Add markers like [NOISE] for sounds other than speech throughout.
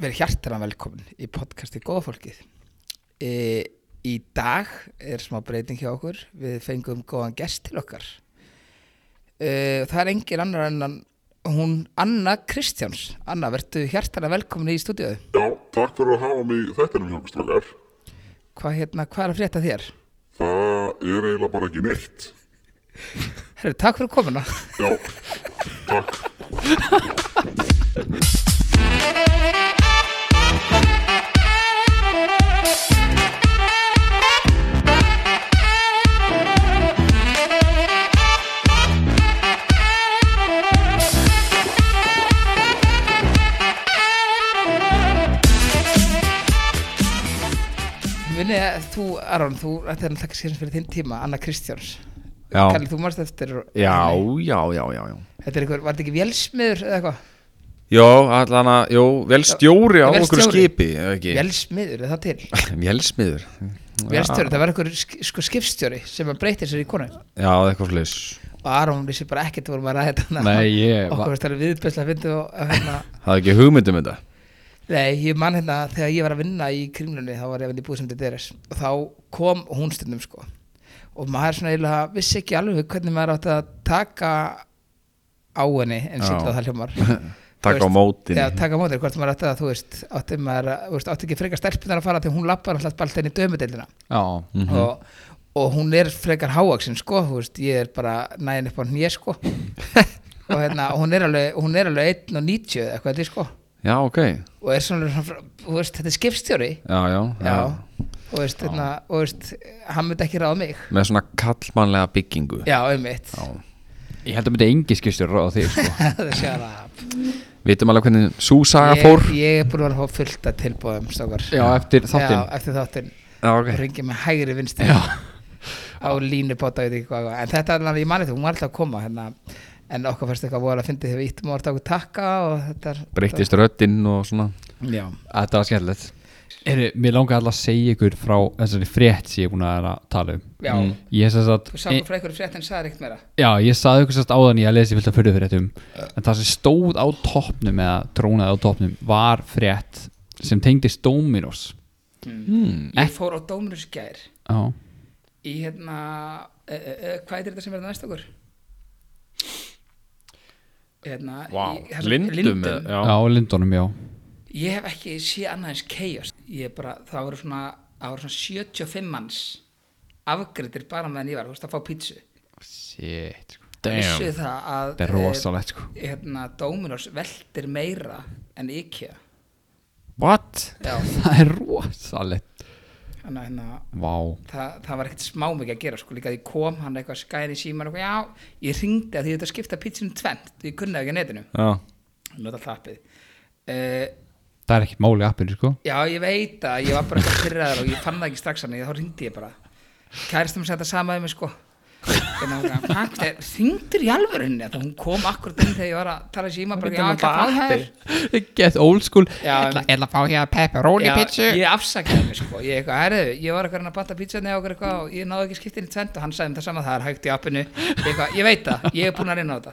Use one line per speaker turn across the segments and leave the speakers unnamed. Verið hjartalega velkomin í podcasti Góða fólkið. E, í dag er smá breyting hjá okkur. Við fengum góðan gest til okkar. E, það er engin annar en hann- hún Anna Kristjáns. Anna, verðu hjartalega velkomin í stúdíu.
Já, takk fyrir að hafa mig í þættinum hjá okkur strókar.
Hvað hérna, hvað er að frétta þér?
Það er eiginlega bara ekki neitt.
Herru, takk fyrir komuna. [LAUGHS]
Já, takk.
Vinni, þú, Aron, þú, þetta er náttúrulega skilins fyrir þinn tíma, Anna Kristjáns.
Já,
Kalli, þú marst eftir.
já,
henni.
já, já, já, já.
Þetta er eitthvað, var þetta ekki vélsmiður eða eitthvað?
Jó, allan að, jú, velstjóri á okkur
Vélstjóri.
skipi, eða ekki?
Vélsmiður, er það til?
[LAUGHS] Vélsmiður.
Vélstjóri, það var einhver sk- sko skipstjóri sem að breytir sér í konu
Já, já, eitthvað flis.
og Aron vissi bara ekkert vorum að ræða þetta
Nei, ég,
okkur
var-
veist það er viðbæsla að finna og
[LAUGHS]
hérna
það er ekki hugmyndum þetta.
Nei, ég man hérna þegar ég var að vinna í kringlunni þá var ég að vinna í búið sem þetta er og þá kom hún stundum sko og maður svona eiginlega vissi ekki alveg hvernig maður átti að taka á henni en
Já.
sýtla það
[LAUGHS]
hljómar
Takk á
veist,
mótinu.
Já, taka á mótið, hvort maður átti að þú veist átti, maður, að- þú veist, átti ekki frekar stelpunar að fara því hún lappar alltaf baltinn í dömudeildina
Já,
Mhm.
og, og hún er frekar hávaksinn sko, þú veist, ég er bara næðin upp á hnið sko og hérna, hún er alveg, hún er alveg 1 og 90 eða eitthvað þetta er sko
Já, ok.
og er svona, svona frá- þú veist, þetta er skipstjóri
Já, já,
já, og veist, hérna, og veist hann myndi ekki ráða mig
Með svona kallmannlega byggingu.
já, einmitt
Já.
ég held að myndi engi skipstjóri ráða þig sko.
[LAUGHS] það sé að það
Vitum alveg hvernig sú saga fór?
ég, ég er búin að vera að fá fullt að tilbúðum stókar
[LAUGHS] Já, eftir þáttinn
já, eftir þáttinn
Já,
og
ok.
ringi með hægri vinstri
Já.
á línu bóta veit ekki hvað hvað. en þetta er alveg, ég mani þetta, hún var alltaf að koma hérna. en okkur fyrst eitthvað voru að fyndi þegar við íttum og orðið okkur takka og þetta er
Breyttist röddinn og svona.
já,
Þetta var skemmtilegt Eru, Mér langar alltaf að segja ykkur frá þessari frétt sem ég er búin að vera að tala um
já
Ég sem sagt
þú
e,
sagði frá einhverju frétt en um sagði ekkert meira
Já, ég saði ykkur sérst áðan ég að lesa í fylgta fyrir fréttum En það sem stóð á toppnum eða trónaði á toppnum var frétt sem tengdist Dominos
Mm.
ég fór á Dómurus gær
Já,
í hérna, uh, uh, hvað er þetta sem er næst okkur? hérna
Vá,
í- þessum-
lindum. eða-
lindum.
Já.
já Lindunum, já
ég hef ekki séð annað eins chaos ég er bara, það voru svona, það voru svona 75 manns afgriðir bara meðan ég var, þú veist að fá pítsu
Shit sko.
vissu það að
Þetta er rosalegt sko
eh, hérna, Dominos veltir meira en IKEA
What?
já,
[LAUGHS] Það er rosalegt
þannig að hérna,
Vá
það, það var ekkert smá mikið að gera sko, líka að ég kom hann eitthvað skæðin í síman og eitthvað, já, ég ringdi að því þetta skipta pítsunum tvennt, ég kunni það ekki á netinu
Já.
nota hlappið uh,
Það er ekkert máli appinu sko
já, ég veit að ég var bara eitthvað pyrraður og ég fann það ekki strax hann, þá ringdi ég bara kæristum að þetta samaði mig sko þingdur í alvörunni þá hún kom akkurat inn þegar ég var að tala í síma bara, já, ekki að fá það þér
[LAUGHS] Get old school
Já,
Ég ætla- Ég ætla að fá hér pepperoni
Já,
pizza
ég afsakaði mig sko ég, eitthvað, herðu, ég var eitthvað að banta pítsunni og eitthvað og ég náði ekki skiptin í tvend og hann sagði um það sama það er hægt í appinu ég, eitthvað, ég veit það, ég er búin að reyna á þetta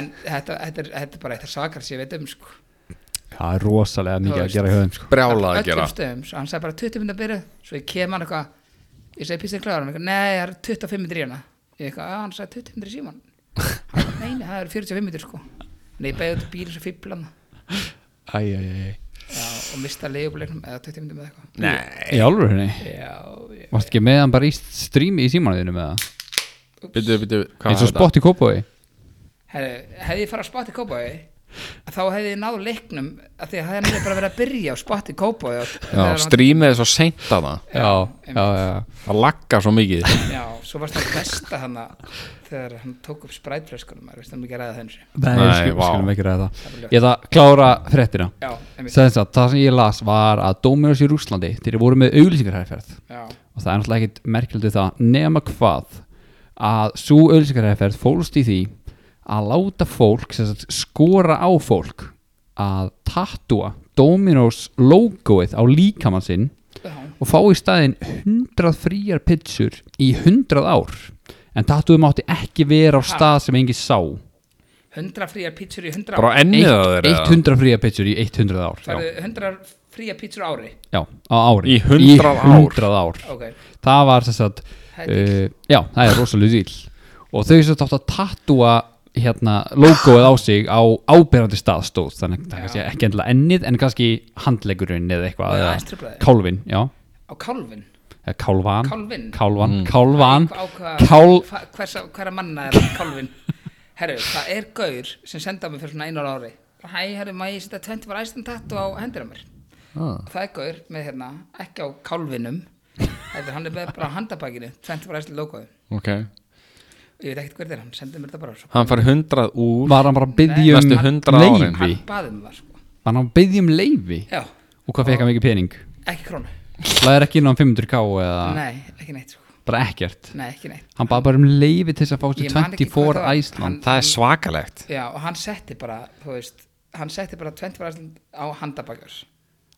en þetta, þetta, er, þetta er bara eitthvað sakar sem ég veit um sko
Það er rosalega
Þú
mikið að
veist.
gera í höfum sko
Brjálað að
öllum
gera.
stöðum, svo hann sagði bara 20 minnir að byrja svo ég kem hann eitthvað ég segi písir kláður, hann eitthvað, nei, það er 25 minnir í hana ég eitthvað, "Já, hann sagði 25 minnir í síman nei, nei, það eru 45 minnir sko en ég beði út í bíl svo fíblan
Æ, æ, æ
já, og mista leigulegnum eða 20 minnir með eitthvað
Nei.
Í alveg henni
já, já,
Varst ekki með hann bara í streami í símanuðinu með það
Býtu, býtu, hvað
Eins og
þetta?
spott í kópói
Herru, hefði ég farið á spot í Kópói þá hefði ég náð leiknum af því að það hefði bara verið að byrja á spot í Kópói og-
Já,
þegar hann-
strímið er svo seint að það.
Já,
einmitt.
já, já
Það laggar svo mikið.
já, svo varst það besta hann þegar hann tók upp sprætflöskunum maður veist það mikið að ræða það eins og
Nei,
Nei,
skulum,
vá.
skulum ekki
er
ræða það
ljótt.
Ég ætla að klára fréttina
já, einmitt,
Sæðins að það sem ég las var að Dominos í Rúslandi þeir voru með auglýsingarherferð
já
og það er náttúrulega ekkit merkjöldu það nema hvað að svo auðlýsingarherferð fólst í því að láta fólk sem sagt, skora á fólk að tattua Dominos logoið á líkamann sinn
Já,
og fá í staðinn 100 fríjar pitsur í 100 ár en tattuðum átti ekki vera á stað sem engi sá
100 fríjar pítsur í 100
Bara
ár
á ennið á þér eða?
100 fría pitchur í 100 ár
Það
já,
eru 100 fríjar pítsur á ári
já, á ári
Í 100 ár.
í 100 ár.
Ok,
það var þess að
Það er
uh, já, það er rosalega dýl og þau sem þátt að tattúa hérna, logoið á sig á ábyrjandi stað stóð þannig að það er kannski ekki endilega ennið en kannski handleggurinn eða
Og
eitthvað
eða
eða
hæstrublaðið.
kálfin, já,
á kálfin
eða kálvan
Kálfinn?
kálvan,
Mm.
kálvan
Á hvað-
kál,
hva- Hvers hverra manna er kálfin Herru, það er gaur sem senda mér fyrir svona einu ári Hæ, herru, maður ég setja 20 var æstan tattu á hendur á mér Það er gaur með hérna, ekki á kálfinum Þetta hann er með bara á handabakinu 20 var æstan logoði
Ok
Ég veit ekkert hver þetta er, hann sendi mér þetta bara svo
Hann fari hundrað úr
var hann bara að byggja
Næstu
um
100 árin.
leifi
Hann baði mér það sko
var hann að byggja um leifi
Já,
og hvað fekk hann mikið pening
ekki krónu
það er ekki innan 500k eða
Nei, ekki neitt sko
bara ekkert
Nei, ekki neitt
hann bara bara um leifi til þess að fá
Ég
sér
man ekki hvað það
24
var.
Æsland
Það er svakalegt
Já, og hann setti bara, þú veist Hann setti bara 20 var æstan á handabakjur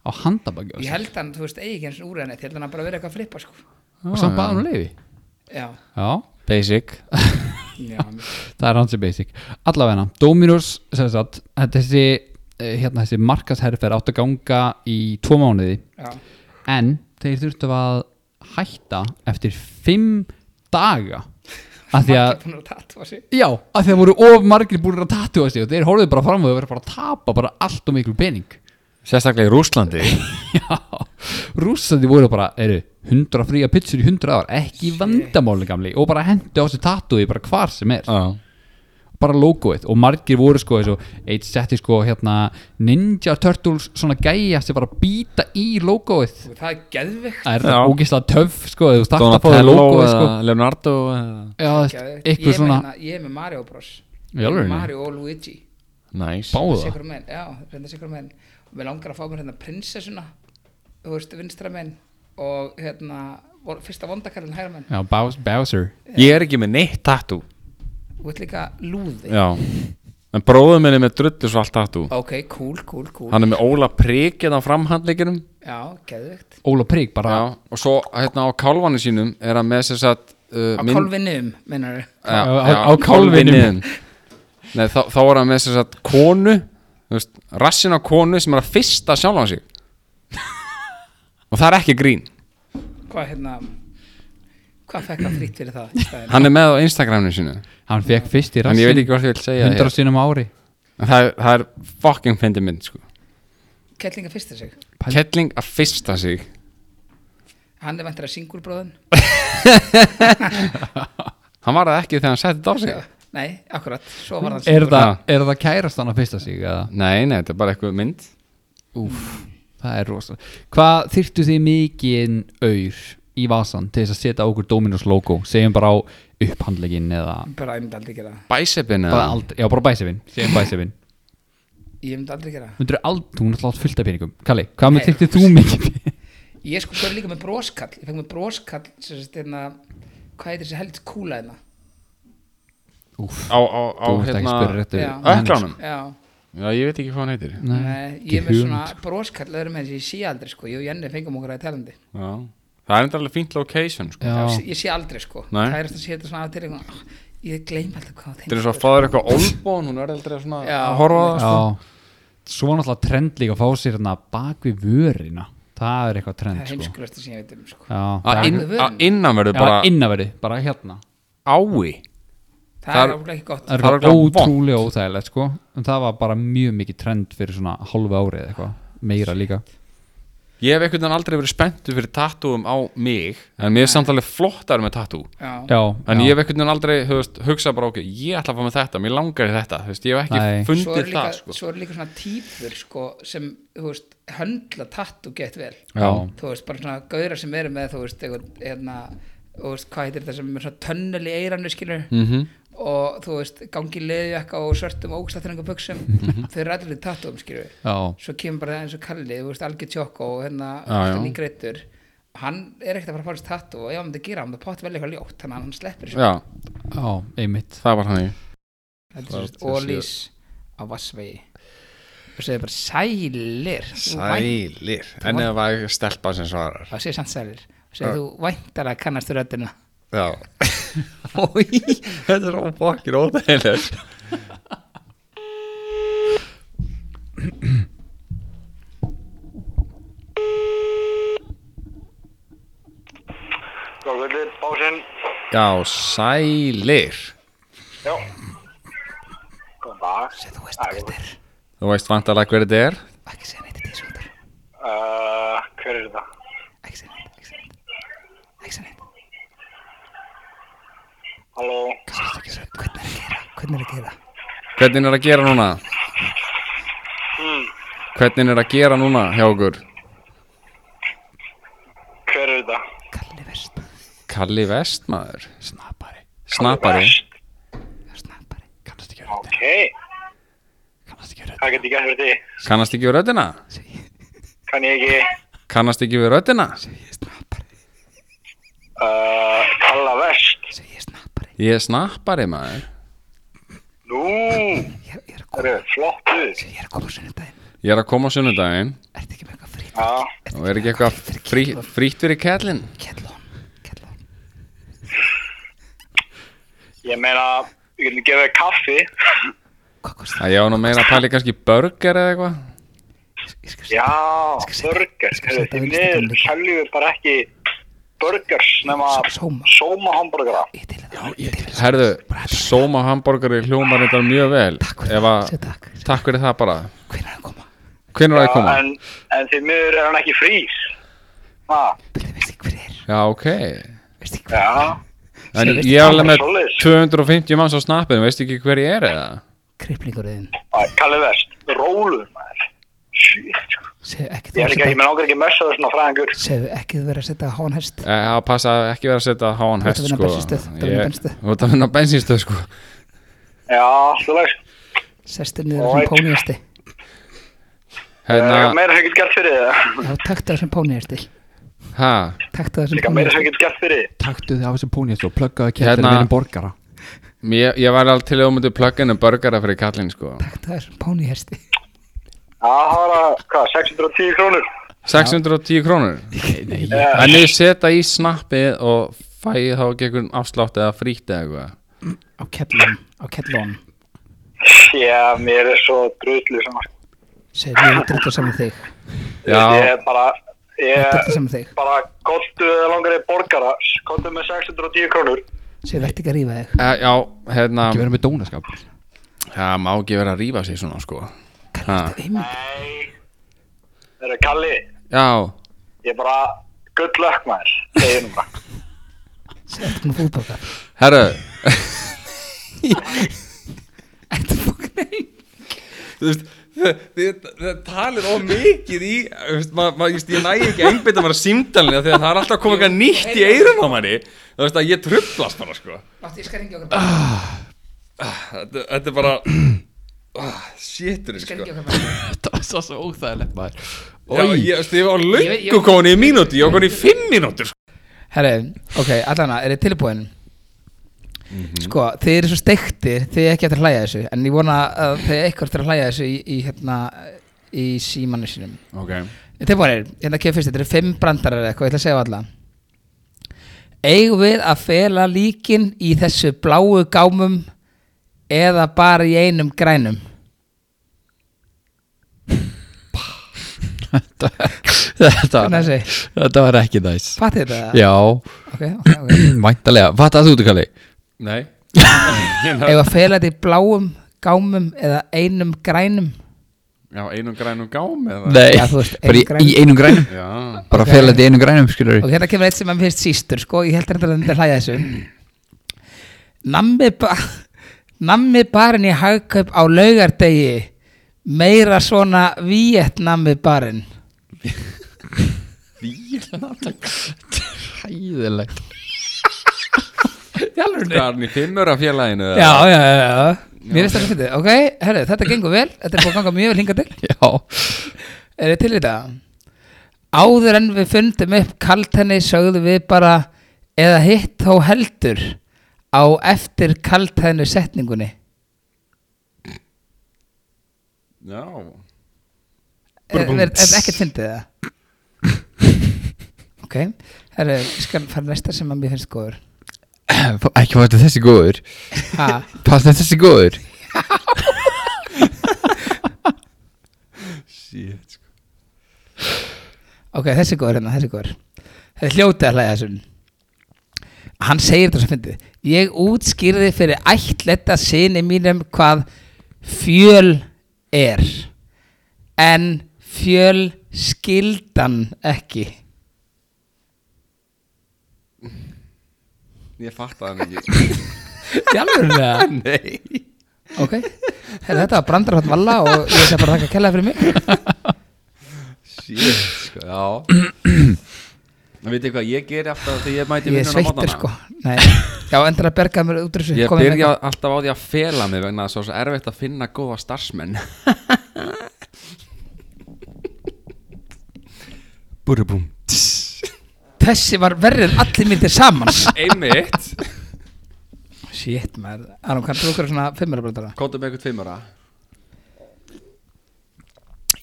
á handabakja
Ég held hann, þú veist, eigi ekki eins og úr henni Ég held hann að bara verið eitthvað að flippa sko
og samt baða hann um leifi
Já,
Já,
Basic
já,
[LAUGHS] það er hansi basic Allavegna, Dominos sem sagt, þetta- þessi, eh, hérna, þessi markasherferð átt að ganga í tvo mánuði
já.
en þeir þurftu að hætta eftir fimm daga að því að
[LAUGHS] Margir búin að tatúa sig
Já, að því að voru of margir búin að tatúa sig og þeir horfðu bara fram og þau verið bara að tapa bara allt og miklu pening [LAUGHS]
Sérstaklega í Rúslandi
Já, rússandi voru bara, eru, hundra fría pitsur í hundra ár, ekki vandamáli gamli og bara hendu á þessu tatúi bara hvar sem er
[LAUGHS] Já
bara logoið og margir voru sko eins og eitt setti sko hérna Ninja Turtles svona gæja sem bara býta í logoið
Og það er geðvikt
það er
Já.
ógislega töff sko eða þú starta að fá þér
Donatello
logoið sko
eða Leonardo eða-
Já, þú veist,
ég,
eitthvað
er
svona
með hérna- ég er með Mario Bros
Í
Ég er með
alvörunni?
Mario og Luigi
Nice
báða
Sigur menn, já, reynda sigur menn og mér langar að fá mér hérna prinsessuna þú veist, vinstra menn og hérna, vor- fyrsta vondakarlinn hægra menn
Já, Bows- Bowser
Ég er ekki með neitt tattoo
og þetta líka lúði
Já En bróðum minni með drullu svart tattoo
ok, cool, cool, cool
Hann er með Óla Prik eða framhandleikinum
já, geðvikt
Óla Prygg bara
Já Og svo hérna á kálvanu sínum er hann með sér satt uh,
á
mynd-
kolvinum, mennar
Já,
Á-
já,
á- á kálfinum.
kálfinum. Nei, þá, þá er hann með sér satt konu þú veist, Rassin á konu sem er að fyrsta sjálfan sig [LAUGHS] Og það er ekki grín
hvað hérna hvað fekk hann frýtt fyrir það í staðinn?
Hann er með á Instagraminu sínu
hann fekk fyrst í
En ég veit
rassin
ekki hvað ég vil segja
hundra
hér.
sinum ári
En það, er- það er fucking fyndi mynd sko.
kellinga fyrsta sig
Pæl-
Kettling að fyrsta sig
hann er vantur að singulbróðin
Hann var það ekki þegar hann setti þetta á sig
nei, akkurat, svo var hann
er
singulbróðin
það, er það kærast hann að fyrsta sig eða?
Nei, nei, þetta er bara eitthvað mynd
Úf, það er rosa Hvað þyrftu þið mikið auður í vasan til þess að setja á okkur Dominos logo segjum bara á upphandlegin eða
bara, ég myndi aldrei gera það
Bæsepin
bara
eða
aldrei, já bara bæsefin segjum bæsefin
ég myndi aldrei gera það
Myndur aldrei, hún er alltaf fullt af peningum Kalli, hvað með
Nei.
þyrftu þú
[LAUGHS]
mikið
Ég sko fyrir líka með broskall Ég fekk með broskall sem sagt, hérna, Hvað heitir þessi held kúla hérna
Úf,
Á, á, á,
þú ert ekki
hérna
spyrir réttu
já.
Öklanum
Já,
Já, ég veit ekki hvað hann heitir
Nei,
Nei,
ekki
ég er með
hugmynd.
svona broskall öðrum með þessi ég sé aldrei sko Ég og Jenni fengum okkur að talandi
Já Það er enda alveg fínt location sko.
Já,
Já,
Ég sé aldrei sko
Nei.
Það er eftir að sé þetta svona að til eitthvað "Ah, Ég gleym alltaf hvað sko."
Þetta er svo að fá þér eitthvað olbón Hún er aldrei svona að horfa á það sko.
já Svo náttúrulega trend líka að fá sér hérna bak við vörina Það er eitthvað
Það
trend
er
sko
heimskulast sem ég veit um sko
Já,
Að
það-
inn-
Bakvið vörina.
Að innan verður
já,
bara
innaveri, bara hérna
ái
Það
Það-
er áflega ekki gott
Það
Það
er
er
bara
örugglega vont.
ótrúlega óþægilegt sko En það var bara mjög mikið trend fyrir svona hálfu árið eða eitthvað Meira líka
Ég hef einhvern veginn aldrei verið spenntu fyrir tattúum á mig En mér er samt alveg flottar með tattú
Já,
Já,
En
já.
ég hef einhvern veginn aldrei höfst, hugsað bara ok Ég ætla að fá með þetta, mér langar í þetta þú veist, Ég hef ekki
Nei.
svo eru
fundið
líka,
það sko.
svo er líka svona típur sko sem, þú veist, höndla tattu gett vel
Já.
þú veist, bara svona gauðra sem eru með þú veist, eitthvað, hérna þú veist, hvað heitir þetta sem er með svona tönnel í eiranu skilur
Mhm.
og þú veist, gangi leðu eitthvað og svörtum og ógstættinanga buksum
Mhm.
þau eru allir í tattum skilur
Já,
svo kemur bara eins og Kalli, þú veist, algjör tjókk og hérna,
Já, já.
hann í greittur hann er ekkert að fara að fara þessi tattu og ef hann myndi gera hann, það pott vel eitthvað ljótt þannig að hann sleppir þessu.
Já,
já, einmitt
það var
Þetta
hann
er sérst
Hvað til
ólís á vassvegi og segir bara sælir þú vænt-
Sælir En ef það er stelpa sem svarar
það segir samt sælir og segir þú væntar að kannast röddina
[LAUGHS] Já Þetta er svo fokkin óþægilegt
Góð kvöldið, básinn.
Já, sælir
Já. Góðan dag.
Sem þú veist hver þetta er.
Þú veist vantalega hver þetta er
Ekki segja neitt í þessu þetta.
Uh, hver er það?
Ekki segja neitt, ekki segja neitt. Ekki segja neitt.
Halló?
Hvað er það að gera? Hvernig er að gera?
Hvernig er að gera núna? Hvernig er að gera núna hjá okkur?
Hver er það?
Kalli verst.
Kalli Vestmaður
Snappari,
Snappari
Snappari.
kannast ekki að
Ok,
rödd Kannast ekki að rödd
hvað get ég gert fyrir því?
Kannast ekki við röddina?
Kann ég ekki
Kannast ekki við röddina?
Snappari.
uh, kalla verst?
Segja snappari.
Ég er snappari maður
Nú,
Ég er- ég er að
það
koma.
er flottu.
Ég er að koma á sunnudaginn.
Ég er að koma á sunnudaginn
Ertu ekki með eitthvað frýtt?
Já,
og er ekki eitthvað frí, frítt fyrir kællin
Kettlón. Kettlón.
ég meina, við getum gefið þér kaffi.
Hvað kostar það?
Það ég á nú meira að pæli kannski burger eða eitthvað
Ég skal
Já,
Ég skal setja-
burger.
ég skal setja
Herru, Því
það í
miður
listakanninu.
seljum við bara ekki burgers nema
Sóma.
sóma hamburgera.
Ég til það. Ég til það.
Herðu, sóma hamborgari hljómar þetta mjög vel
Takk fyrir
Ef
það.
að-
Sér takk.
Takk fyrir það bara
Hvernig er að koma?
Hvernig er að koma?
En, en því miður er hann ekki frýr. Ha,
Byrðu, veist ekki hver er?
Já, ok
Veist ekki hver er?
já,
En
Sem
ég
veistu
ég er alveg
hvað
með
er svoleiðis?
250 manns á snappinu, veistu ekki hver ég er eða?
Kriplingurðin.
Æ, Kalli verst, róluður maður. Shit, sko.
Segðu ekki þú að
Ég er ekki, ég
setja-
menn ákveð ekki messa þessum að fræðingur.
segðu ekki þú verið að setja hánhest.
Eh, Það passa að ekki vera að setja háan
Þú ert
hest
að vinna
sko.
bensínstöð, þú ert að vinna bensínstöð.
Þú ert að vinna bensinstöð sko.
Já, allt í lagi.
Sestu niður sem
Alright.
póníhesti.
Það er
Hérna,
meira sem ég get gert fyrir þið.
Já, taktu það sem póníhesti.
hæ,
Taktu það sem
Líka meira sem
póníhesti.
ég get gert fyrir þið.
Taktu þið af þessu pónjast og pluggaðu kettir
Hérna-
við erum borgara
ég, ég var alveg til að umöndu plugginum burgara fyrir kallinn sko.
Taktu það sem póníhesti.
Já, það var að, hvað, 610 krónur. Eh,
610 krónur.
Nei,
En ég setja í snappið og fæ þá ekki einhvern afslátt eða frítt eða eitthvað.
Á kettlón. Á kettlón.
Já, mér er svo drullu saman.
Segðu ég er drullu saman þig.
Ég
Já,
er bara, ég
Drullu
er
saman þig.
bara, gottu eða langari borgara, gottu með 610 krónur.
Segðu verð ekki að rífa þig.
eh, já, hérna,
ekki vera með dónaskap
það má ekki vera að rífa sig svona sko. Ha.
Kallar þetta heimil.
Nei. Það eru Kalli,
Já,
ég er bara, good luck maður. Segir nú bara.
Segðu þetta með fútbolga.
herru,
Þetta fokk nei.
þú veist þið- þið þið talið of mikið í þú veist, ma, ma, ég, ég næ ekki að einbytta maður símdalinni þegar það er alltaf komið eitthvað nýtt í eirum á manni þú veist að ég trublast bara sko
Átti, ég skal ringja okkur bara.
þetta, þetta er bara [CLEARS THROAT] ah, shiturinn
Skal
sko
ringja okkur bara.
Þetta var svo, svo óþægilegt maður
Já, ég, þú veist, ég var
Ég-
löngu
ég-
komin í mínúti, ég var komin í fimm mínútur sko.
Herri, ok, allana, er þið tilbúin? Sko, þið eru svo steiktir, þið er ekki eftir að hlæja þessu En ég vona að þið er eitthvað eftir að hlæja þessu í, í, hérna, í símanu sínum
ok,
Þið tilbúinir, hérna kemur fyrst, þetta eru fimm brandarar eða eitthvað, ég ætla að segja alla Eigum við að fela líkin í þessu bláu gámum eða bara í einum grænum?
þetta,
Hvernig að segja?
þetta var ekki næs
Fattið þetta?
Já, [CLEARS THROAT]
Ok, ok, ok
væntalega, hvað það þú ert kalli?
nei
[LAUGHS] Eigum við að fela þetta í bláum gámum eða einum grænum?
já, einum grænum gám eða
Nei,
Já, þú veist,
bara
einum
í,
grænum.
í einum grænum
já,
Bara
Ok.
okay. fela þetta í einum grænum, skilur
Og hérna kemur eitt sem að mér finnst sístur sko, ég held hérna að þetta hlæja þessu Nammi ba Nammi barinn í hagkaup á laugardegi meira svona Vietnami barinn
Hæðilegt
garn í fimmur af félaginu eða?
Já, já, já, já Mér finnst þetta fyrir Ok, herru, þetta gengur vel Þetta er búið að ganga mjög vel hingað til
Já,
Er þið til í þetta? Áður en við fundum upp kaltenni sögðu við bara eða hitt þó heldur á eftir kaltenni setningunni
já,
Er, er, er ekkert fyndið það? ok, herru, ég skal fara næsta sem að mér finnst góður
ekki fannst þessi góður
ha,
Fannst þér þessi góður?
shit sko.
ok, þessi er góður hérna, þessi er góður þetta er hljótið að hlæja þessum hann segir þetta sem fyndið ég útskýrði fyrir ættletta sinni mínum hvað fjöl er en fjöl skildan ekki
Ég fatta það
[LAUGHS]
mikið
Jálfur það?
[LAUGHS] Nei
Ok, Heru, þetta var brandarhátt valla og ég ætla bara að þakka kella fyrir mig
Shit, sko, já En veit hvað, ég ger alltaf þegar ég mæti
Ég er
vinnuna á
sveittur
mótnana
sko hérna Nei. Já, endur að berga mér út úr þessu
Ég
komið með
byrja
eitthvað.
alltaf á því að fela mig vegna þess að það er svo erfitt að finna góða
[LAUGHS]
starfsmenn Burubum
Þessi var verrið en allir myndir samans
Einmitt
Shit maður, Aron, kannski okkur svona fimmara brandara
Kóndum með eitthvað tveimara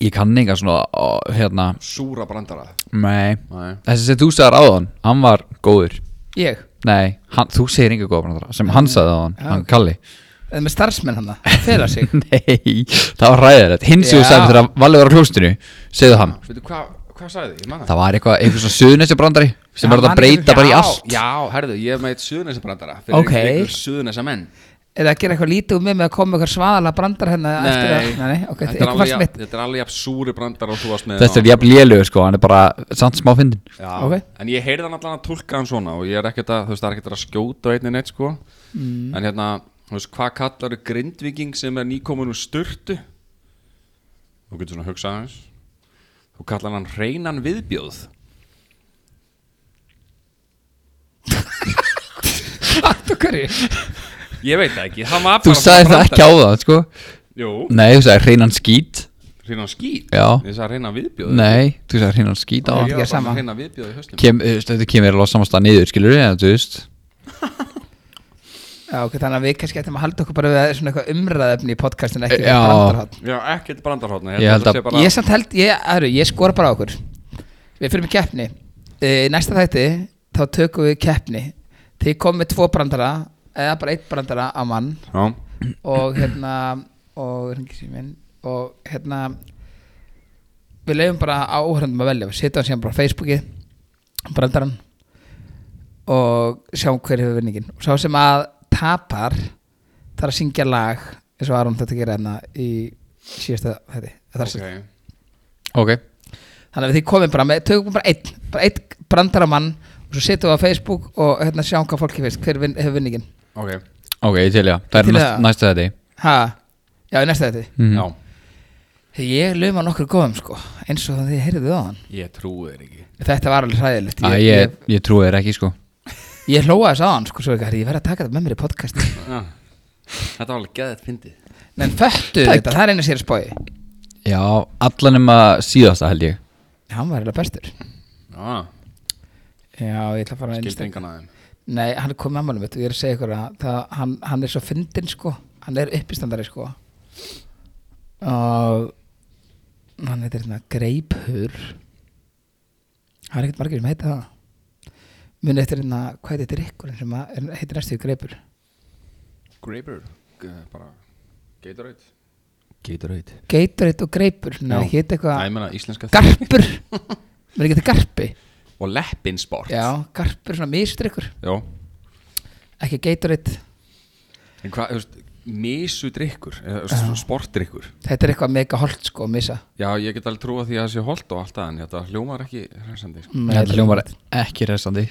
Ég kann enga svona ó, hérna,
Súra brandara
nei
Nei
Þessi sem þú sagðar áðan, hann var góður
Ég,
Nei, hann, þú segir enga góða brandara sem hann sagði áðan,
Já,
hann
ok.
Kalli [LAUGHS]
eða Eh, með starfsmenn hann Fela sig
Nei, það var ræðilegt Hinn sem þú
Já.
sagði þegar Valli var á klóstinu Segðu hann
Veitu hvað, hvað sagði ég? Ég man það
Það var eitthvað, eitthvað svona suðnesi brandari sem
Já,
var
hann
að breyta
er-
bara í
Já,
allt
Já, herðu, ég er með eitt suðunessa brandara Fyrir
Ok.
ykkur suðunessa menn
Eða að gera eitthvað lítið um mig með að koma eitthvað svaðalega brandar hérna eftir að, nei, nei, ok,
þetta, er
eitthvað
alveg,
fannst
jafn-
mitt
þetta er alveg jafn súri brandara og þú varst með
Þetta er
áðan.
jafn lélugur sko, hann er bara samt smá fyndin
Já,
Ok.
en ég heyrði hann allan að tólka hann svona og ég er ekkert að, þú veist, það er ekkert að skjóta á einni neitt, sko
Mm.
en hérna, þú veist, hvað kallar grindviking sem er nýkomin úr styrtu þú getur svona að hugsa aðeins þú kallar hann reynan viðbjóð
Allt og hverju
ég veit það ekki, hann var
Þú
bara
sagði það ekki
brandari.
á það sko
Jú,
Nei, þú sagði hreinan skít
reynan skýt
Já.
ég sagði reynan viðbjóð
Nei, þú sagði hreinan skít á
Já,
hann
ég
ég
er
var bara
sama.
með reynan viðbjóð í höstum
Kem, þú veist, Þetta kemur alveg samasta niður skilur við, þú veist
Já, ok, þannig að við kannski ættum að halda okkur bara við svona eitthvað umræðefni í podcastinu ekki
Já.
brandarhátt
já, ekkert brandarhóttna
Ég held að-
Ég samt held, ég, aðru, ég skora bara á okkur Við fyrir með keppni e, Næsta þætti, þá tökum við keppni Þið komum með tvo brandara eða bara eitt brandara á mann
já,
og hérna og hringi sér minn og hérna við leiðum bara á áhörðum að velja við setjum síðan bara á Facebookið brandarann og sjáum hver hefur vinningin og sá sem að tapar þarf að syngja lag eins og Aron þetta gera hérna í síðasta þetta, þetta
ok
Ok,
þannig að þið komum bara með, tökum bara einn bara einn brandaramann og svo setjum við á Facebook og hérna sjáum hvað fólki finnst hver vin, hefur vinningin
ok,
ok, ég til já Það er
Til í
næst,
það?
næsta þetta
ha, já, í næsta þetta
mm.
já
Ég lauma nokkur góðum sko eins og þið heyrðuð á hann
ég trúi þér ekki
Þetta var alveg hræðilegt
Æ, ég, ég trúi þér ekki sko
ég, ég hlóa þess á hann sko svo ekki Ég verð að taka þetta með mér í podcast [LAUGHS]
Já. Þetta var alveg geðið fyndið
Menn föttu þetta, það er einu sér spói
Já, allan um að síðasta held ég
Hann var eiginlega bestur
Já,
Já, ég ætla að fara að
skildi
einstak
engan aðeim
Nei, hann er komið með málum mitt og ég er að segja ykkur að það, hann, hann er svo fyndin sko Hann er uppistandari sko Og hann heitir hérna Greipur Það er ekkert margir sem heita það Muni eftir hérna, hvað heitir drikkurinn sem að- er- heitir næstu í Greipur
Graber bara Gatorade Gatorade
Gatorade og greipur Nei,
Já.
ekki þetta
Það ég
eitthvað
meina íslenska
Garpur [LAUGHS] Mér ekki þetta garpi
Og leppinsport
Já, garpur, svona misdrykkur
Já.
Ekki Gatorade
En hvað, þú veist, misudrykkur eða, þú veist, Sportdrykkur
Þetta er eitthvað mega holt sko, misa
Já, ég get alveg trúa því að það sé holt og allt það En þetta hljómar ekki hrensandi sko.
Nei,
Þetta hljómar ekki resandi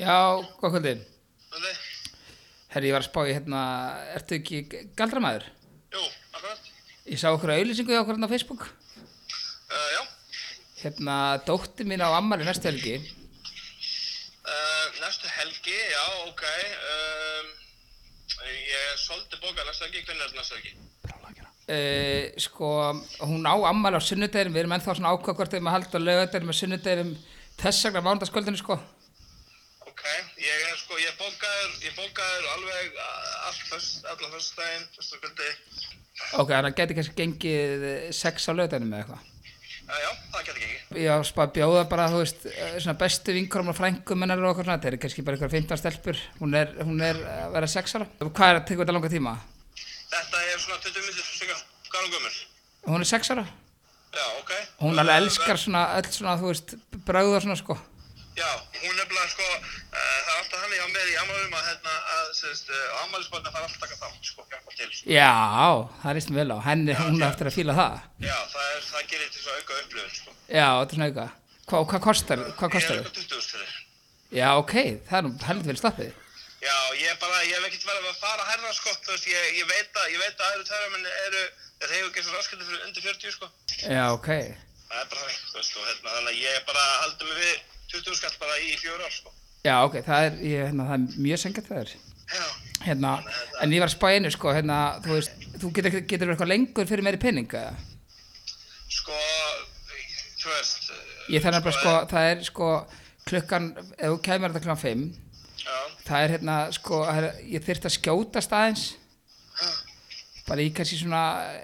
Já, hvað kvöldin? Herri, ég var að spá í hérna Ertu ekki galdramæður?
Jú, akkurat.
Ég sá okkur auðlýsingu hjá okkur hérna á Facebook
Uh, já,
Hérna, dótti mín á ammali næstu helgi
uh, næstu helgi, já, ok. Um, ég er svolítið bókað næstu helgi, hvernig er næstu helgi?
Uh, sko, hún á ammali á sunnudegrum við erum ennþá svona ákvað hvort þeim að halda lögadegrum og sunnudegrum þess vegna mánudagskvöldinu sko
Ok, ég er sko, ég er bókaður, ég er bókaður alveg uh, allt fyrst, allan fyrstdægin, fyrstu kvöldi.
Ok, þannig að hann geti kannski gengið eh, sex á löðanum eða eitthvað.
Uh, já, það getur ekki.
Ég var bara að bjóða bara, þú veist, eh, svona bestu vinkurum og frængum hennar og okkur svona, þetta er kannski bara eitthvað 15 stelpur, hún er, hún er að vera sex ára. Hvað er að teka þetta langa tíma?
Þetta er svona 20 minnir, cirka, hvað er hún gömur?
Hún er sex ára,
Já, ok. Eh,
hún alveg elskar svona öll svona, þú veist, brauða svona sko.
Já, hún er bara sko, uh, gaman um að, hérna, að sérst, uh, afmælisbarni fara alltaf að þátt, sko, hjálpa til, sko.
Já, það líst mér vel á. Henni, hún er eftir að fíla það.
Já, það, er, það gerir til svo auka upplöfun, sko.
Já, þetta er svona auka. Hva, hvað kostar, hvað kostar
Ég er
þau?
auka 20 úrst fyrir.
Já, ok, það er nú heldur verið slappið.
Já, ég er bara, ég hef ekkert verið að fara að herra, sko, þú veist, ég, ég veit að, ég veit að aðru tæra minn eru, þeir hefur gerst raskandi fyrir undir 40, sko.
Já, ok.
Það er bara þannig, þú veist, og hérna, þannig að ég er bara að halda mig við 20 skall bara í fjóra ár, sko.
Já, ok, það er, ég, hérna, það er mjög sengat það er.
Já,
Hérna, en ég var að spá í einu, sko, hérna, þú veist, þú getur, getur verið eitthvað lengur fyrir meiri pening, eða?
sko, þú veist,
Ég þarf nefnilega, sko, það er, sko, klukkan, ef þú kæmur þetta klukkan 5,
já,
það er, hérna, sko, það er, ég þyrft að skjóta staðins, bara í kannski svona, eh,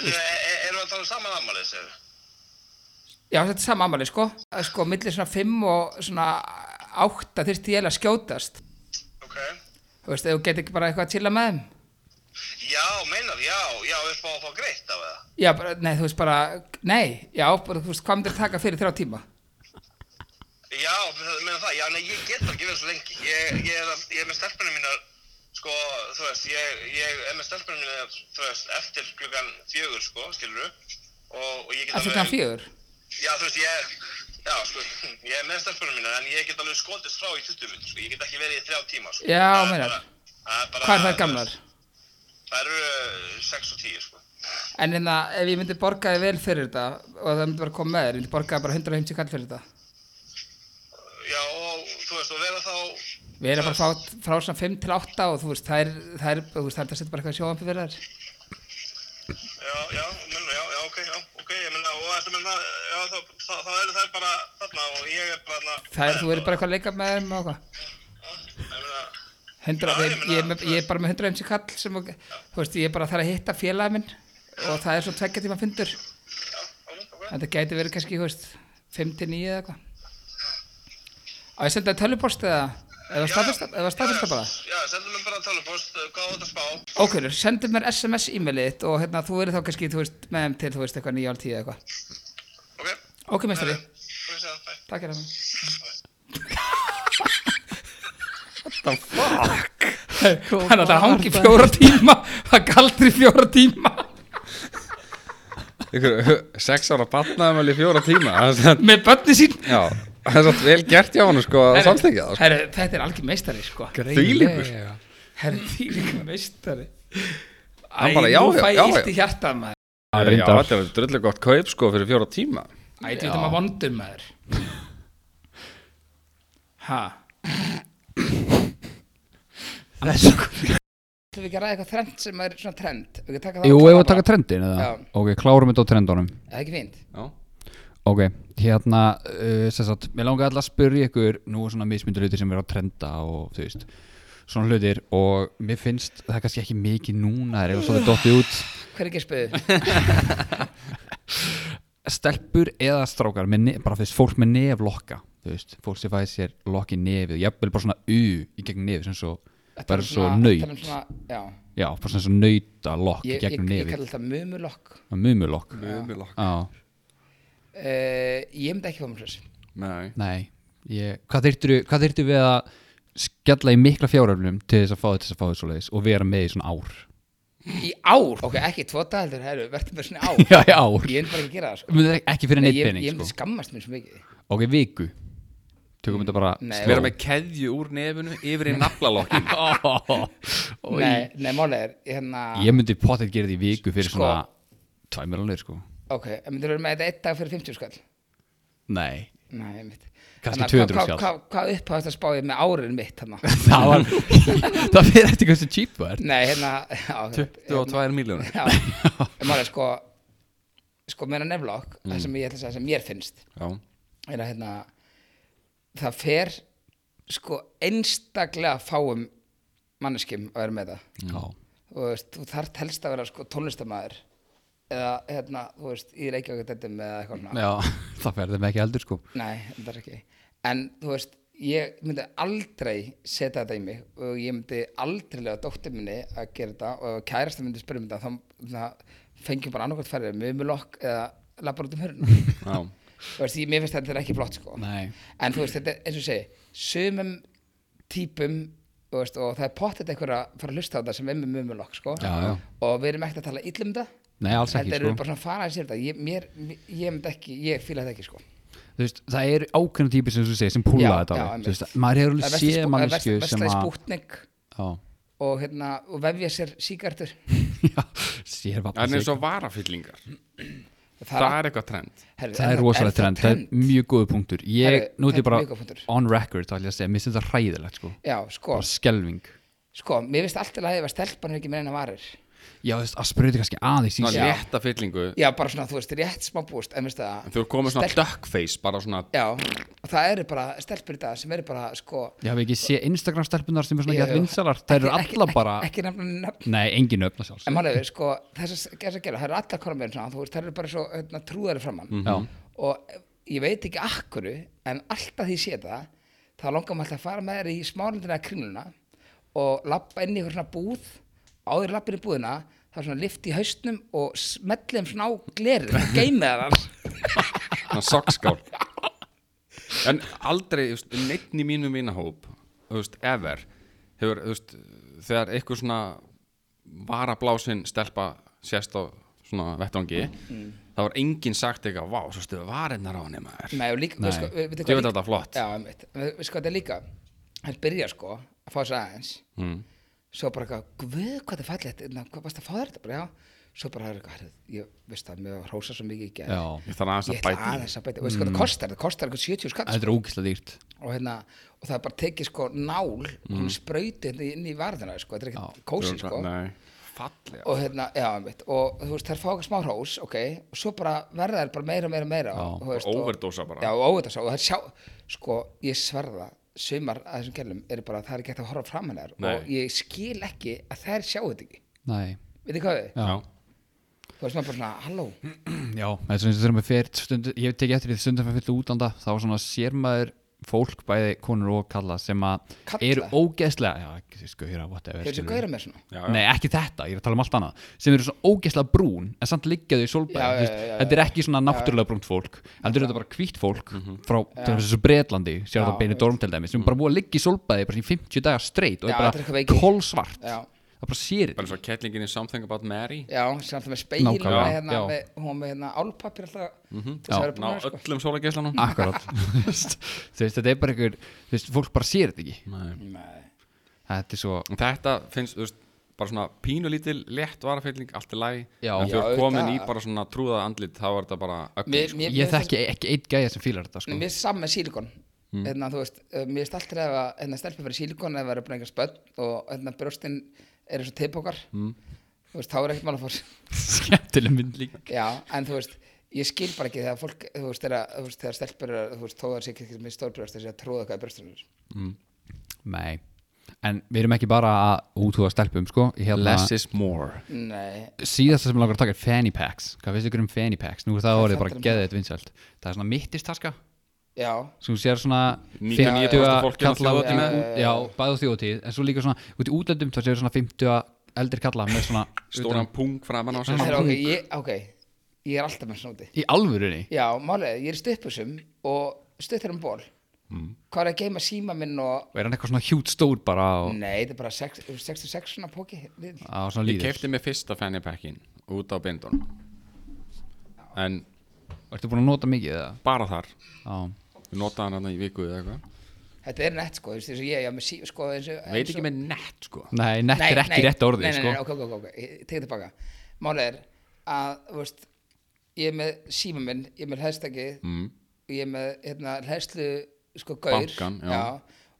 Eru- e- erum við að tala um saman afmælið, segir
já, þetta er sama ammali, sko, að, sko, millir svona 5 og svona 8 þyrfti ég eiginlega að skjótast,
Ok.
þú veist, ef þú getur ekki bara eitthvað að chilla með þeim.
Já, meinar, já, já, við spáum að fá greitt af það.
Já, bara, nei, þú veist bara, nei, já, bara, þú veist, hvað myndir taka fyrir þrjá tíma?
Já, meina það, já, nei, ég get bara ekki verið svo lengi. Ég, ég, er, að- ég er með stelpunum mínar, sko, þú veist, ég, ég er með stelpunum mínar, þú veist, eftir klukkan fjögur, sko, skilur du? Og, og ég get
Að klukkan fjögur?
Já, þú veist, ég, já, sko, [LAUGHS] ég er með stelpunum mínar, en ég get alveg skóldist frá í 20 minnum, sko, ég get ekki verið í þrjá tíma, sko.
Já,
Það er
meinar.
bara- það er bara-
Hvað er það gamlar?
Það eru uh, 6 og 10, sko.
En en það, ef ég myndi borga þig vel fyrir þetta og það myndi bara koma með þér, ég myndi borga þig bara 150 kall fyrir þetta.
Já, og þú veist, og vera þá,
Við erum bara frá, frá svona 5 til 8 og þú veist, það er, það er, þú veist, það er að setja bara eitthvað sjóðan fyrir þér.
já, já, menna, já, já, ok, já, ok, ég menna, og þetta menna, já, þá, þá, þá eru þær bara þarna og ég er bara þarna.
Það er, þú verður bara eitthvað að leika með þeim og eitthvað.
Ég menna,
100,
Já, ég
ég,
meina,
ég, er með- ég er bara með 150 kall sem, að- þú veist, ég er bara að þarf að hitta félagið minn og það er svona tveggja tíma fundur.
já, ok, ok,
En það gæti verið kannski, þú veist, 5 til 9 eða eitthvað. Á ég senda þér tölvupost eða, eða staðfesta, eða staðfesta bara?
já, sendu mér bara tölvupost, uh, hvað á þetta að spá?
Ok, Lur, sendu mér SMS e-mailið þitt og hérna, þú verður þá kannski, þú veist, með þeim til, þú veist, eitthvað nýja ál tíu eða eitthvað.
Ok,
Ok, meistari,
ok, segja það, bæ.
takk hérna. er það. What the fuck? Þannig að það hangi fjóra tíma, það galdri fjóra tíma.
Ykkur, [LAUGHS] sex ára batnaði með fjóra tíma Það er satt-
Með börni sín.
Já, það er satt vel gert hjá hann sko að
Herru,
samstekja það sko.
Herru, þetta er algjör meistari, sko.
Þvílíkur.
Herru, þvílíkur meistari.
Hann bara, já, já,
Æ, nú fæ
já,
ég
já.
illt í hjartað maður.
Já,
Já,
reyndar.
þetta er drullu gott kaup sko fyrir fjóra tíma
Æ, þú veitum að vondur maður Ha? Þú við ekki að ræða eitthvað trend sem er svona trend Við ekki taka það
Jú,
og
ef við
klára.
taka trendin eða?
Já.
Ok, klárum þetta á trendunum
Er Það er ekki fínt
Já,
Ok, hérna, uh, sem sagt, mér langar alltaf að spyrja ykkur Nú er svona mismyndur hlutir sem er að trenda og þú veist Svona hlutir og mér finnst það er kannski ekki mikið núna Það er eitthvað svolítið dottið út
Hver er ekki að
[LAUGHS]
spöðu?
stelpur eða strákar með nef, bara fyrst fólk með neflokka þú veist, fólk sem fæði sér lokk í nefið jafnvel bara svona u í gegnum nefið sem svo, bara svo nöyt
um svona, Já,
já, bara svona svo nöyta lokk í
ég, ég,
gegnum
ég
nefið
kalla þetta mumulokk uh,
mumulokk
umilokk
já,
Eh, Ég myndi ekki fá mér þess
Nei,
nei ég, hvað þyrftu hvað þyrftu við að skella í mikla fjáröflum til þess að fá þetta þess að fá þetta svo leiðis og vera með í svona ár
Í ár? Ok, ekki tvo dagaldur, herru, verður með svona ár
[LAUGHS] [LAUGHS] já, í ár,
Ég myndi bara ekki að gera það, sko
Mun það ekki fyrir
Nei,
neitt
Ég,
pening
ég myndi
sko.
skammast mér svo mikið
ok, viku tökum þetta bara
Nei.
slow.
vera með keðju úr nefinu
[LAUGHS]
yfir í naflalokkin
Oj.
Nei, nei, málega er, hérna
[LAUGHS] ég myndi potið gera því viku fyrir
Sko.
svona tvæmjörlunir sko
Ok, en myndir vera með þetta einn dag fyrir 50 skall?
Nei
Nei, mitt
Kannski 200 skall.
Hvað hva, hva upphafast að spáði með árin mitt hann?
[LAUGHS] Það var Það fyrir eftir hversu cheap þú ert
Nei, hérna á, hérna,
22 miljónir
Já, en maður er sko sko meina nefnlokk það sem ég ætla að segja sem mér finnst
Já,
er að hérna það fer sko einstaklega fáum manneskjum að vera með það
Já
þú veist, þú þarft helst að vera sko tónlistamæður eða hérna, þú veist, í Reykjavík eða eitthvað svona
Já, [LAUGHS] það fyrir þeim ekki heldur sko
Nei, þetta er ekki En þú veist, ég myndi aldrei setja þetta í mig og ég myndi aldrei lega dóttir minni að gera þetta og ef kærasta myndi spyrja um þetta þá það fengjum bara annarkvæmt færið mjög mjög lokk eða labbar út um hörn
já,
[LAUGHS] Þú veist, ég, mér finnst þetta er ekki flott sko
Nei
En þú veist, þetta er eins og ég segi sumum típum þú veist, og það er pottet einhver að fara að hlusta á þetta sem er með mumulokk sko.
Já, já.
og við erum ekkert að tala illum um þetta
Nei, alls ekki,
þetta eru
sko.
bara svona að fara að sér þetta ég, mér, mér- ég, myndi ekki, ég fíla þetta ekki sko.
Þú veist, það eru ákveðna típi sem þú segir sem púla
Já,
þetta
já,
alveg.
einmitt.
Þú veist, maður hefur
Það
alveg
er
séð mannesku
vesla-
sem
veslaði
að
spútnik
Já,
og, hérna, og vefja sér síkartur
[LAUGHS] já, sér vapna
En eins
sig
og varafyllingar
það,
Það er eitthvað trend
herri,
Það er rosalega trend, það er mjög góðu punktur
Herri,
Ég,
þetta
nú er
er
ég bara
mjög góður punktur.
on record, þá ætlum ég að segja, mér finnst þetta hræðilegt sko
já, sko,
Bara skelving
sko, mér finnst alltaf að ef að stelpan er ekki með eina varir
Já, þú veist, að sprauti kannski aðeins í
Svona
Já.
sig
létta fyllingu
já, bara svona, þú veist, rétt smá búst en veistu það,
En þú er komið svona
Stelp-
duckface Bara svona
já, og það eru bara stelpur í dag sem eru bara, sko
Já, við ekki sé Instagram stelpunar sem er svona
Jú,
hér
jú.
vinsalar Það eru
Ekki-
alla
ekki-
bara,
ekki nefna nefn
nei, engin öfna sjálfs
en maður hefur sko þess að þess að gera það eru allar konum með svona þú veist það eru bara svo hérna, trúðari framann
Já.
og ég veit ekki akkuru en alltaf því ég sé það þá langar maður alltaf að fara með þér í smálundina kringluna og lappa inn í eitthvað svona búð áður lappin í búðina þá svona lift í haustnum og smetlið um svona á glerið og geymið það
Svona sokkskál En aldrei, þú veist, neittn í mínum vinahóp Þú veist, ever Hefur, þú veist, þegar eitthvað svona Varablásin stelpa Sérst á svona vettvangi
Mm.
Það var enginn sagt eitthvað Vá, svo stuðu varinnar á henni maður
Nei, og líka,
Nei.
við sko, við, við,
Ég veit að þetta er flott.
Já, einmitt. við, við sko, þetta er líka, hann byrja sko að fá þess aðeins, mm. svo bara eitthvað, guð, hvað það er fallegt, na, hvað varst að fá þér þetta bara, já, svo bara er eitthvað, herrið, ég veist það, mér var hrósa svo mikið í gerð,
Já,
Ég þarf aðeins
ég
að
ætla
bæta í.
aðeins að bæta, mm. veist hvað það kostar, það kostar eitthvað 70 skatt,
þetta er ógislega dýrt
og hérna, og það er bara tekið sko nál, mm. hún sprauti hérna inn í varðina, sko, þetta er ekkert kósi, sko,
Nei, fallega
og hérna, já, mitt, og þú veist, þær fá eitthvað smá hrós, ok, og svo bara verða þær bara meira, meira, meira,
Já,
þú veist,
og overdósa bara.
Já, og overdósa, og þær sjá, sko, ég sverða, sumar að þessum kellum eru bara, það er ekki hægt að horfa fram hennar
Nei.
og ég skil ekki að þær sjá þetta ekki, [CLEARS THROAT]
Nei,
veit þið hvað við,
Já,
þú veist, maður bara svona, halló,
já, það er svona eins og þegar maður fer stund, Ég hef tekið eftir því stundum fyrir fyrir útlanda Þá svona sér maður fólk, bæði konur og kalla Sem að
Kalla?
eru ógeðslega Já, sko, hérna, whatever
hefur þessu
skilurðu.
gauðra með svona
já,
Nei, ekki þetta, ég er að tala um allt annað sem eru svona ógeðslega brún, en samt liggja þau í
Já, já,
solbæði,
já, já,
þetta er ekki svona náttúrulega brúnt fólk, heldur þetta bara hvítt fólk
Mhm.
frá, til þess að Breitlandi sér
Já,
það beinu dorm til dæmi, sem bara búið að liggja í solbæði bara í 50 dagar streitt og
Já,
er
þetta er
bara
eitthvað veiki.
kolsvart
Já.
það bara sér
bara svo kettlingin í Something About Mary
Já, sem alltaf með speil og
Nákvæmlega,
hérna,
já.
með, hún með hérna álpapir alltaf, mm -hmm.
Já,
Ná öllum sólageislanum
akkurat, [LAUGHS] þú veist, þú veist, þetta er bara einhver, þú veist, fólk bara sér þetta ekki
Nei.
þetta er svo,
En Þetta finnst, þú veist, bara svona pínulítil létt varafylling, allt er læg
Já.
en þú
Já,
ert komin í
auðvitað.
bara svona trúða andlit þá er þetta bara ögn sko.
mér, mér,
ég
mér
þekki ekki eitt gæja sem fílar þetta, sko
Nei, mér finnst saman með sílikon hérna, þú veist, uh, mér finnst alltaf ef að hérna, stelpa fyrir sílikon ef það eru bara einhver spöll og hérna, brjóstin eru svo teipokar mm. þú veist, þá er ekkert mál að fór
[LAUGHS] skemmtileg mynd líka
já, en þú veist, ég skil bara ekki þegar fólk, þú veist, þegar, þú veist, þegar stelpur eru, þú veist, tóðar sér ekki með stórbrjóst þessi að tróða eitthvað í brjóstinu
Nei, en við erum ekki bara að útúða stelpum, sko hérna,
Less is more
nei,
síðasta sem ég langar að taka er fanny packs hvað finnst ykkur um fanny packs, nú er það
Hvað
orðið bara
stendur um
geðið vinsælt það er svona mittistaska
já,
sem þú sér svona
99%
50
fólki á
kalla út í-
þjóðhátíðinni.
út- já, bæði á þjóðtíð en svo líka svona, út í útlöndum þá sér svona 50 eldri kalla með svona
stóran pung framan á sér
þegar,
Já,
ok, ég, ok ég er alltaf með svona úti
í alvörunni
já, málið, ég er stuppusum og stuttur um ból
Mm.
hvað er að geima síma minn og
og er hann eitthvað svona hjút stór bara á,
nei, þetta er bara sex- 66 svona póki lill.
á svona
Ég
líðis
kefti mig fyrsta fanny packin út á bindun en
ertu búin að nota mikið það?
bara þar
á,
við notaði hann hann í viku eða eitthvað
Þetta er nett sko, þú veist, eins og ég, já, með sí, sko, eins og...
veit ekki með nett sko
nei, nett er ekki rétt orðið
nei, nei,
sko.
Nei, ok, ok, ok, ok, ég tek tilbaka. Málið er að, þú veist, ég er með síma minn, ég er með hlæðstakið, mm. ég er með, hérna, hlæðslu, sko, gaur.
Bankann, já.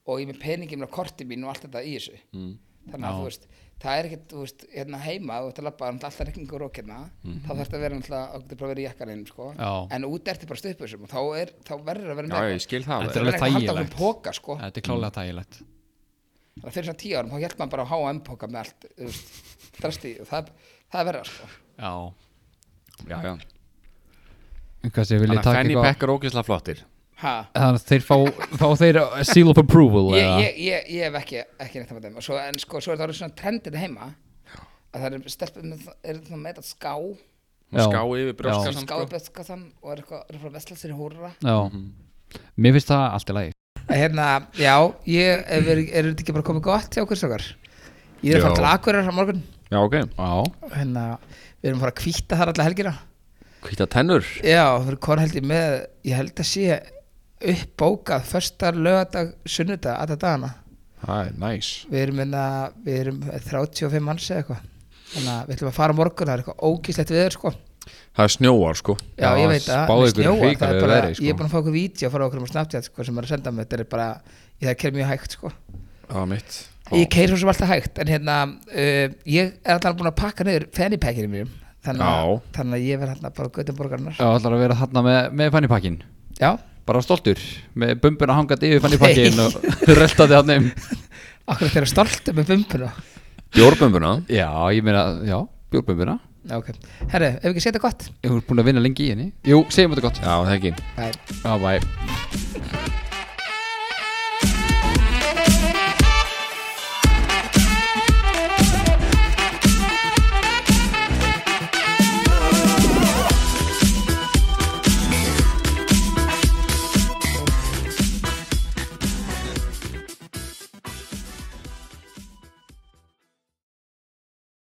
og ég er með peningin og kortið mín og allt þetta í þessu. Mm. Þannig að, þú veist, það er ekkert, þú veist, hérna heima, þú ert að labba, náttúrulega alltaf rekningur og okkurna, þá þarf þetta að vera náttúrulega, þú getur bara verið í jakkaninn, sko.
Mhm. Já.
En út ertu bara stuðpössum og þá, er, þá verður að vera
Já,
með
ég skil það
Þetta er
alveg.
verður ekki
alveg
að halda
þægilegt.
okkur póka, sko.
þetta er
Mm.
klálega tægilegt
Þannig að fyrir svona tíu árum þá hjælt maður bara á H&M póka með allt þú veist, drasti, og það, það er verða sko.
já,
Já, já.
hvað sé,
Þannig
vil ég
að
taka
fanny
eitthvað
pack er ógeðslega flottir
Ha,
þannig að þeir fá, fá þeir seal of approval
ég,
eða?
ég, ég, ég hef ekki, ekki neitt að maður svo, en sko, svo er það orðið svona trendin heima að það er stelpum er það með þetta ská
Hún
Já.
ská yfir sko.
Já.
brjóskan
skáðböðskassan og er eitthvað er frá vesla sér í húrra
Já, mér Mhm. finnst það allt í lagi
en hérna, já, ég, er, er, er þetta ekki bara komið gott hjá okkur strókar? Ég er að fara
Já.
til Akureyrar á morgun,
Já, ok
Já,
hérna, við erum að fara að kvíta þar alla helgina.
Hvita tennur
Já, við erum konur held ég með, ég held að sé uppbókað, föstar, lögadag, sunnudag, alla dagana.
Það er nice
Við erum, hérna, við erum 35 manns eða eitthvað. Þannig að við ætlum að fara á morgun, það er eitthvað ógíslegt viður, sko.
Það er snjóar sko
Já,
Já,
ég veit að
spáðu
með
ykkur
snjóa, það er
hrikalegu
bara,
veðri, sko.
ég er búin að fá okkur vídeo frá okkur um að snabbt sko, sem er að senda mig, þetta er bara ég það ker mjög hægt sko
Það er mitt
ég keir svo sem alltaf hægt, en hérna uh, ég er alltaf búin að pakka niður fannypackinu mínum, þannig að,
Já.
þannig að ég verð hérna bara gautum borgarnar,
það ætlar að vera þarna með, með fannipakkin
já,
Bara stoltur, með bumbuna hangandi yfir fannipakkin [LAUGHS] og röldaði hann um
okkur þeirra stoltum með bumbuna,
Bjórbömbuna
Já, ég meina, já, bjórbumbuna
já ok herru, ef ekki setja gott,
Ég er búin að vinna lengi í henni Jú, segjum þetta gott
Já, það ekki
bye
Já, bæ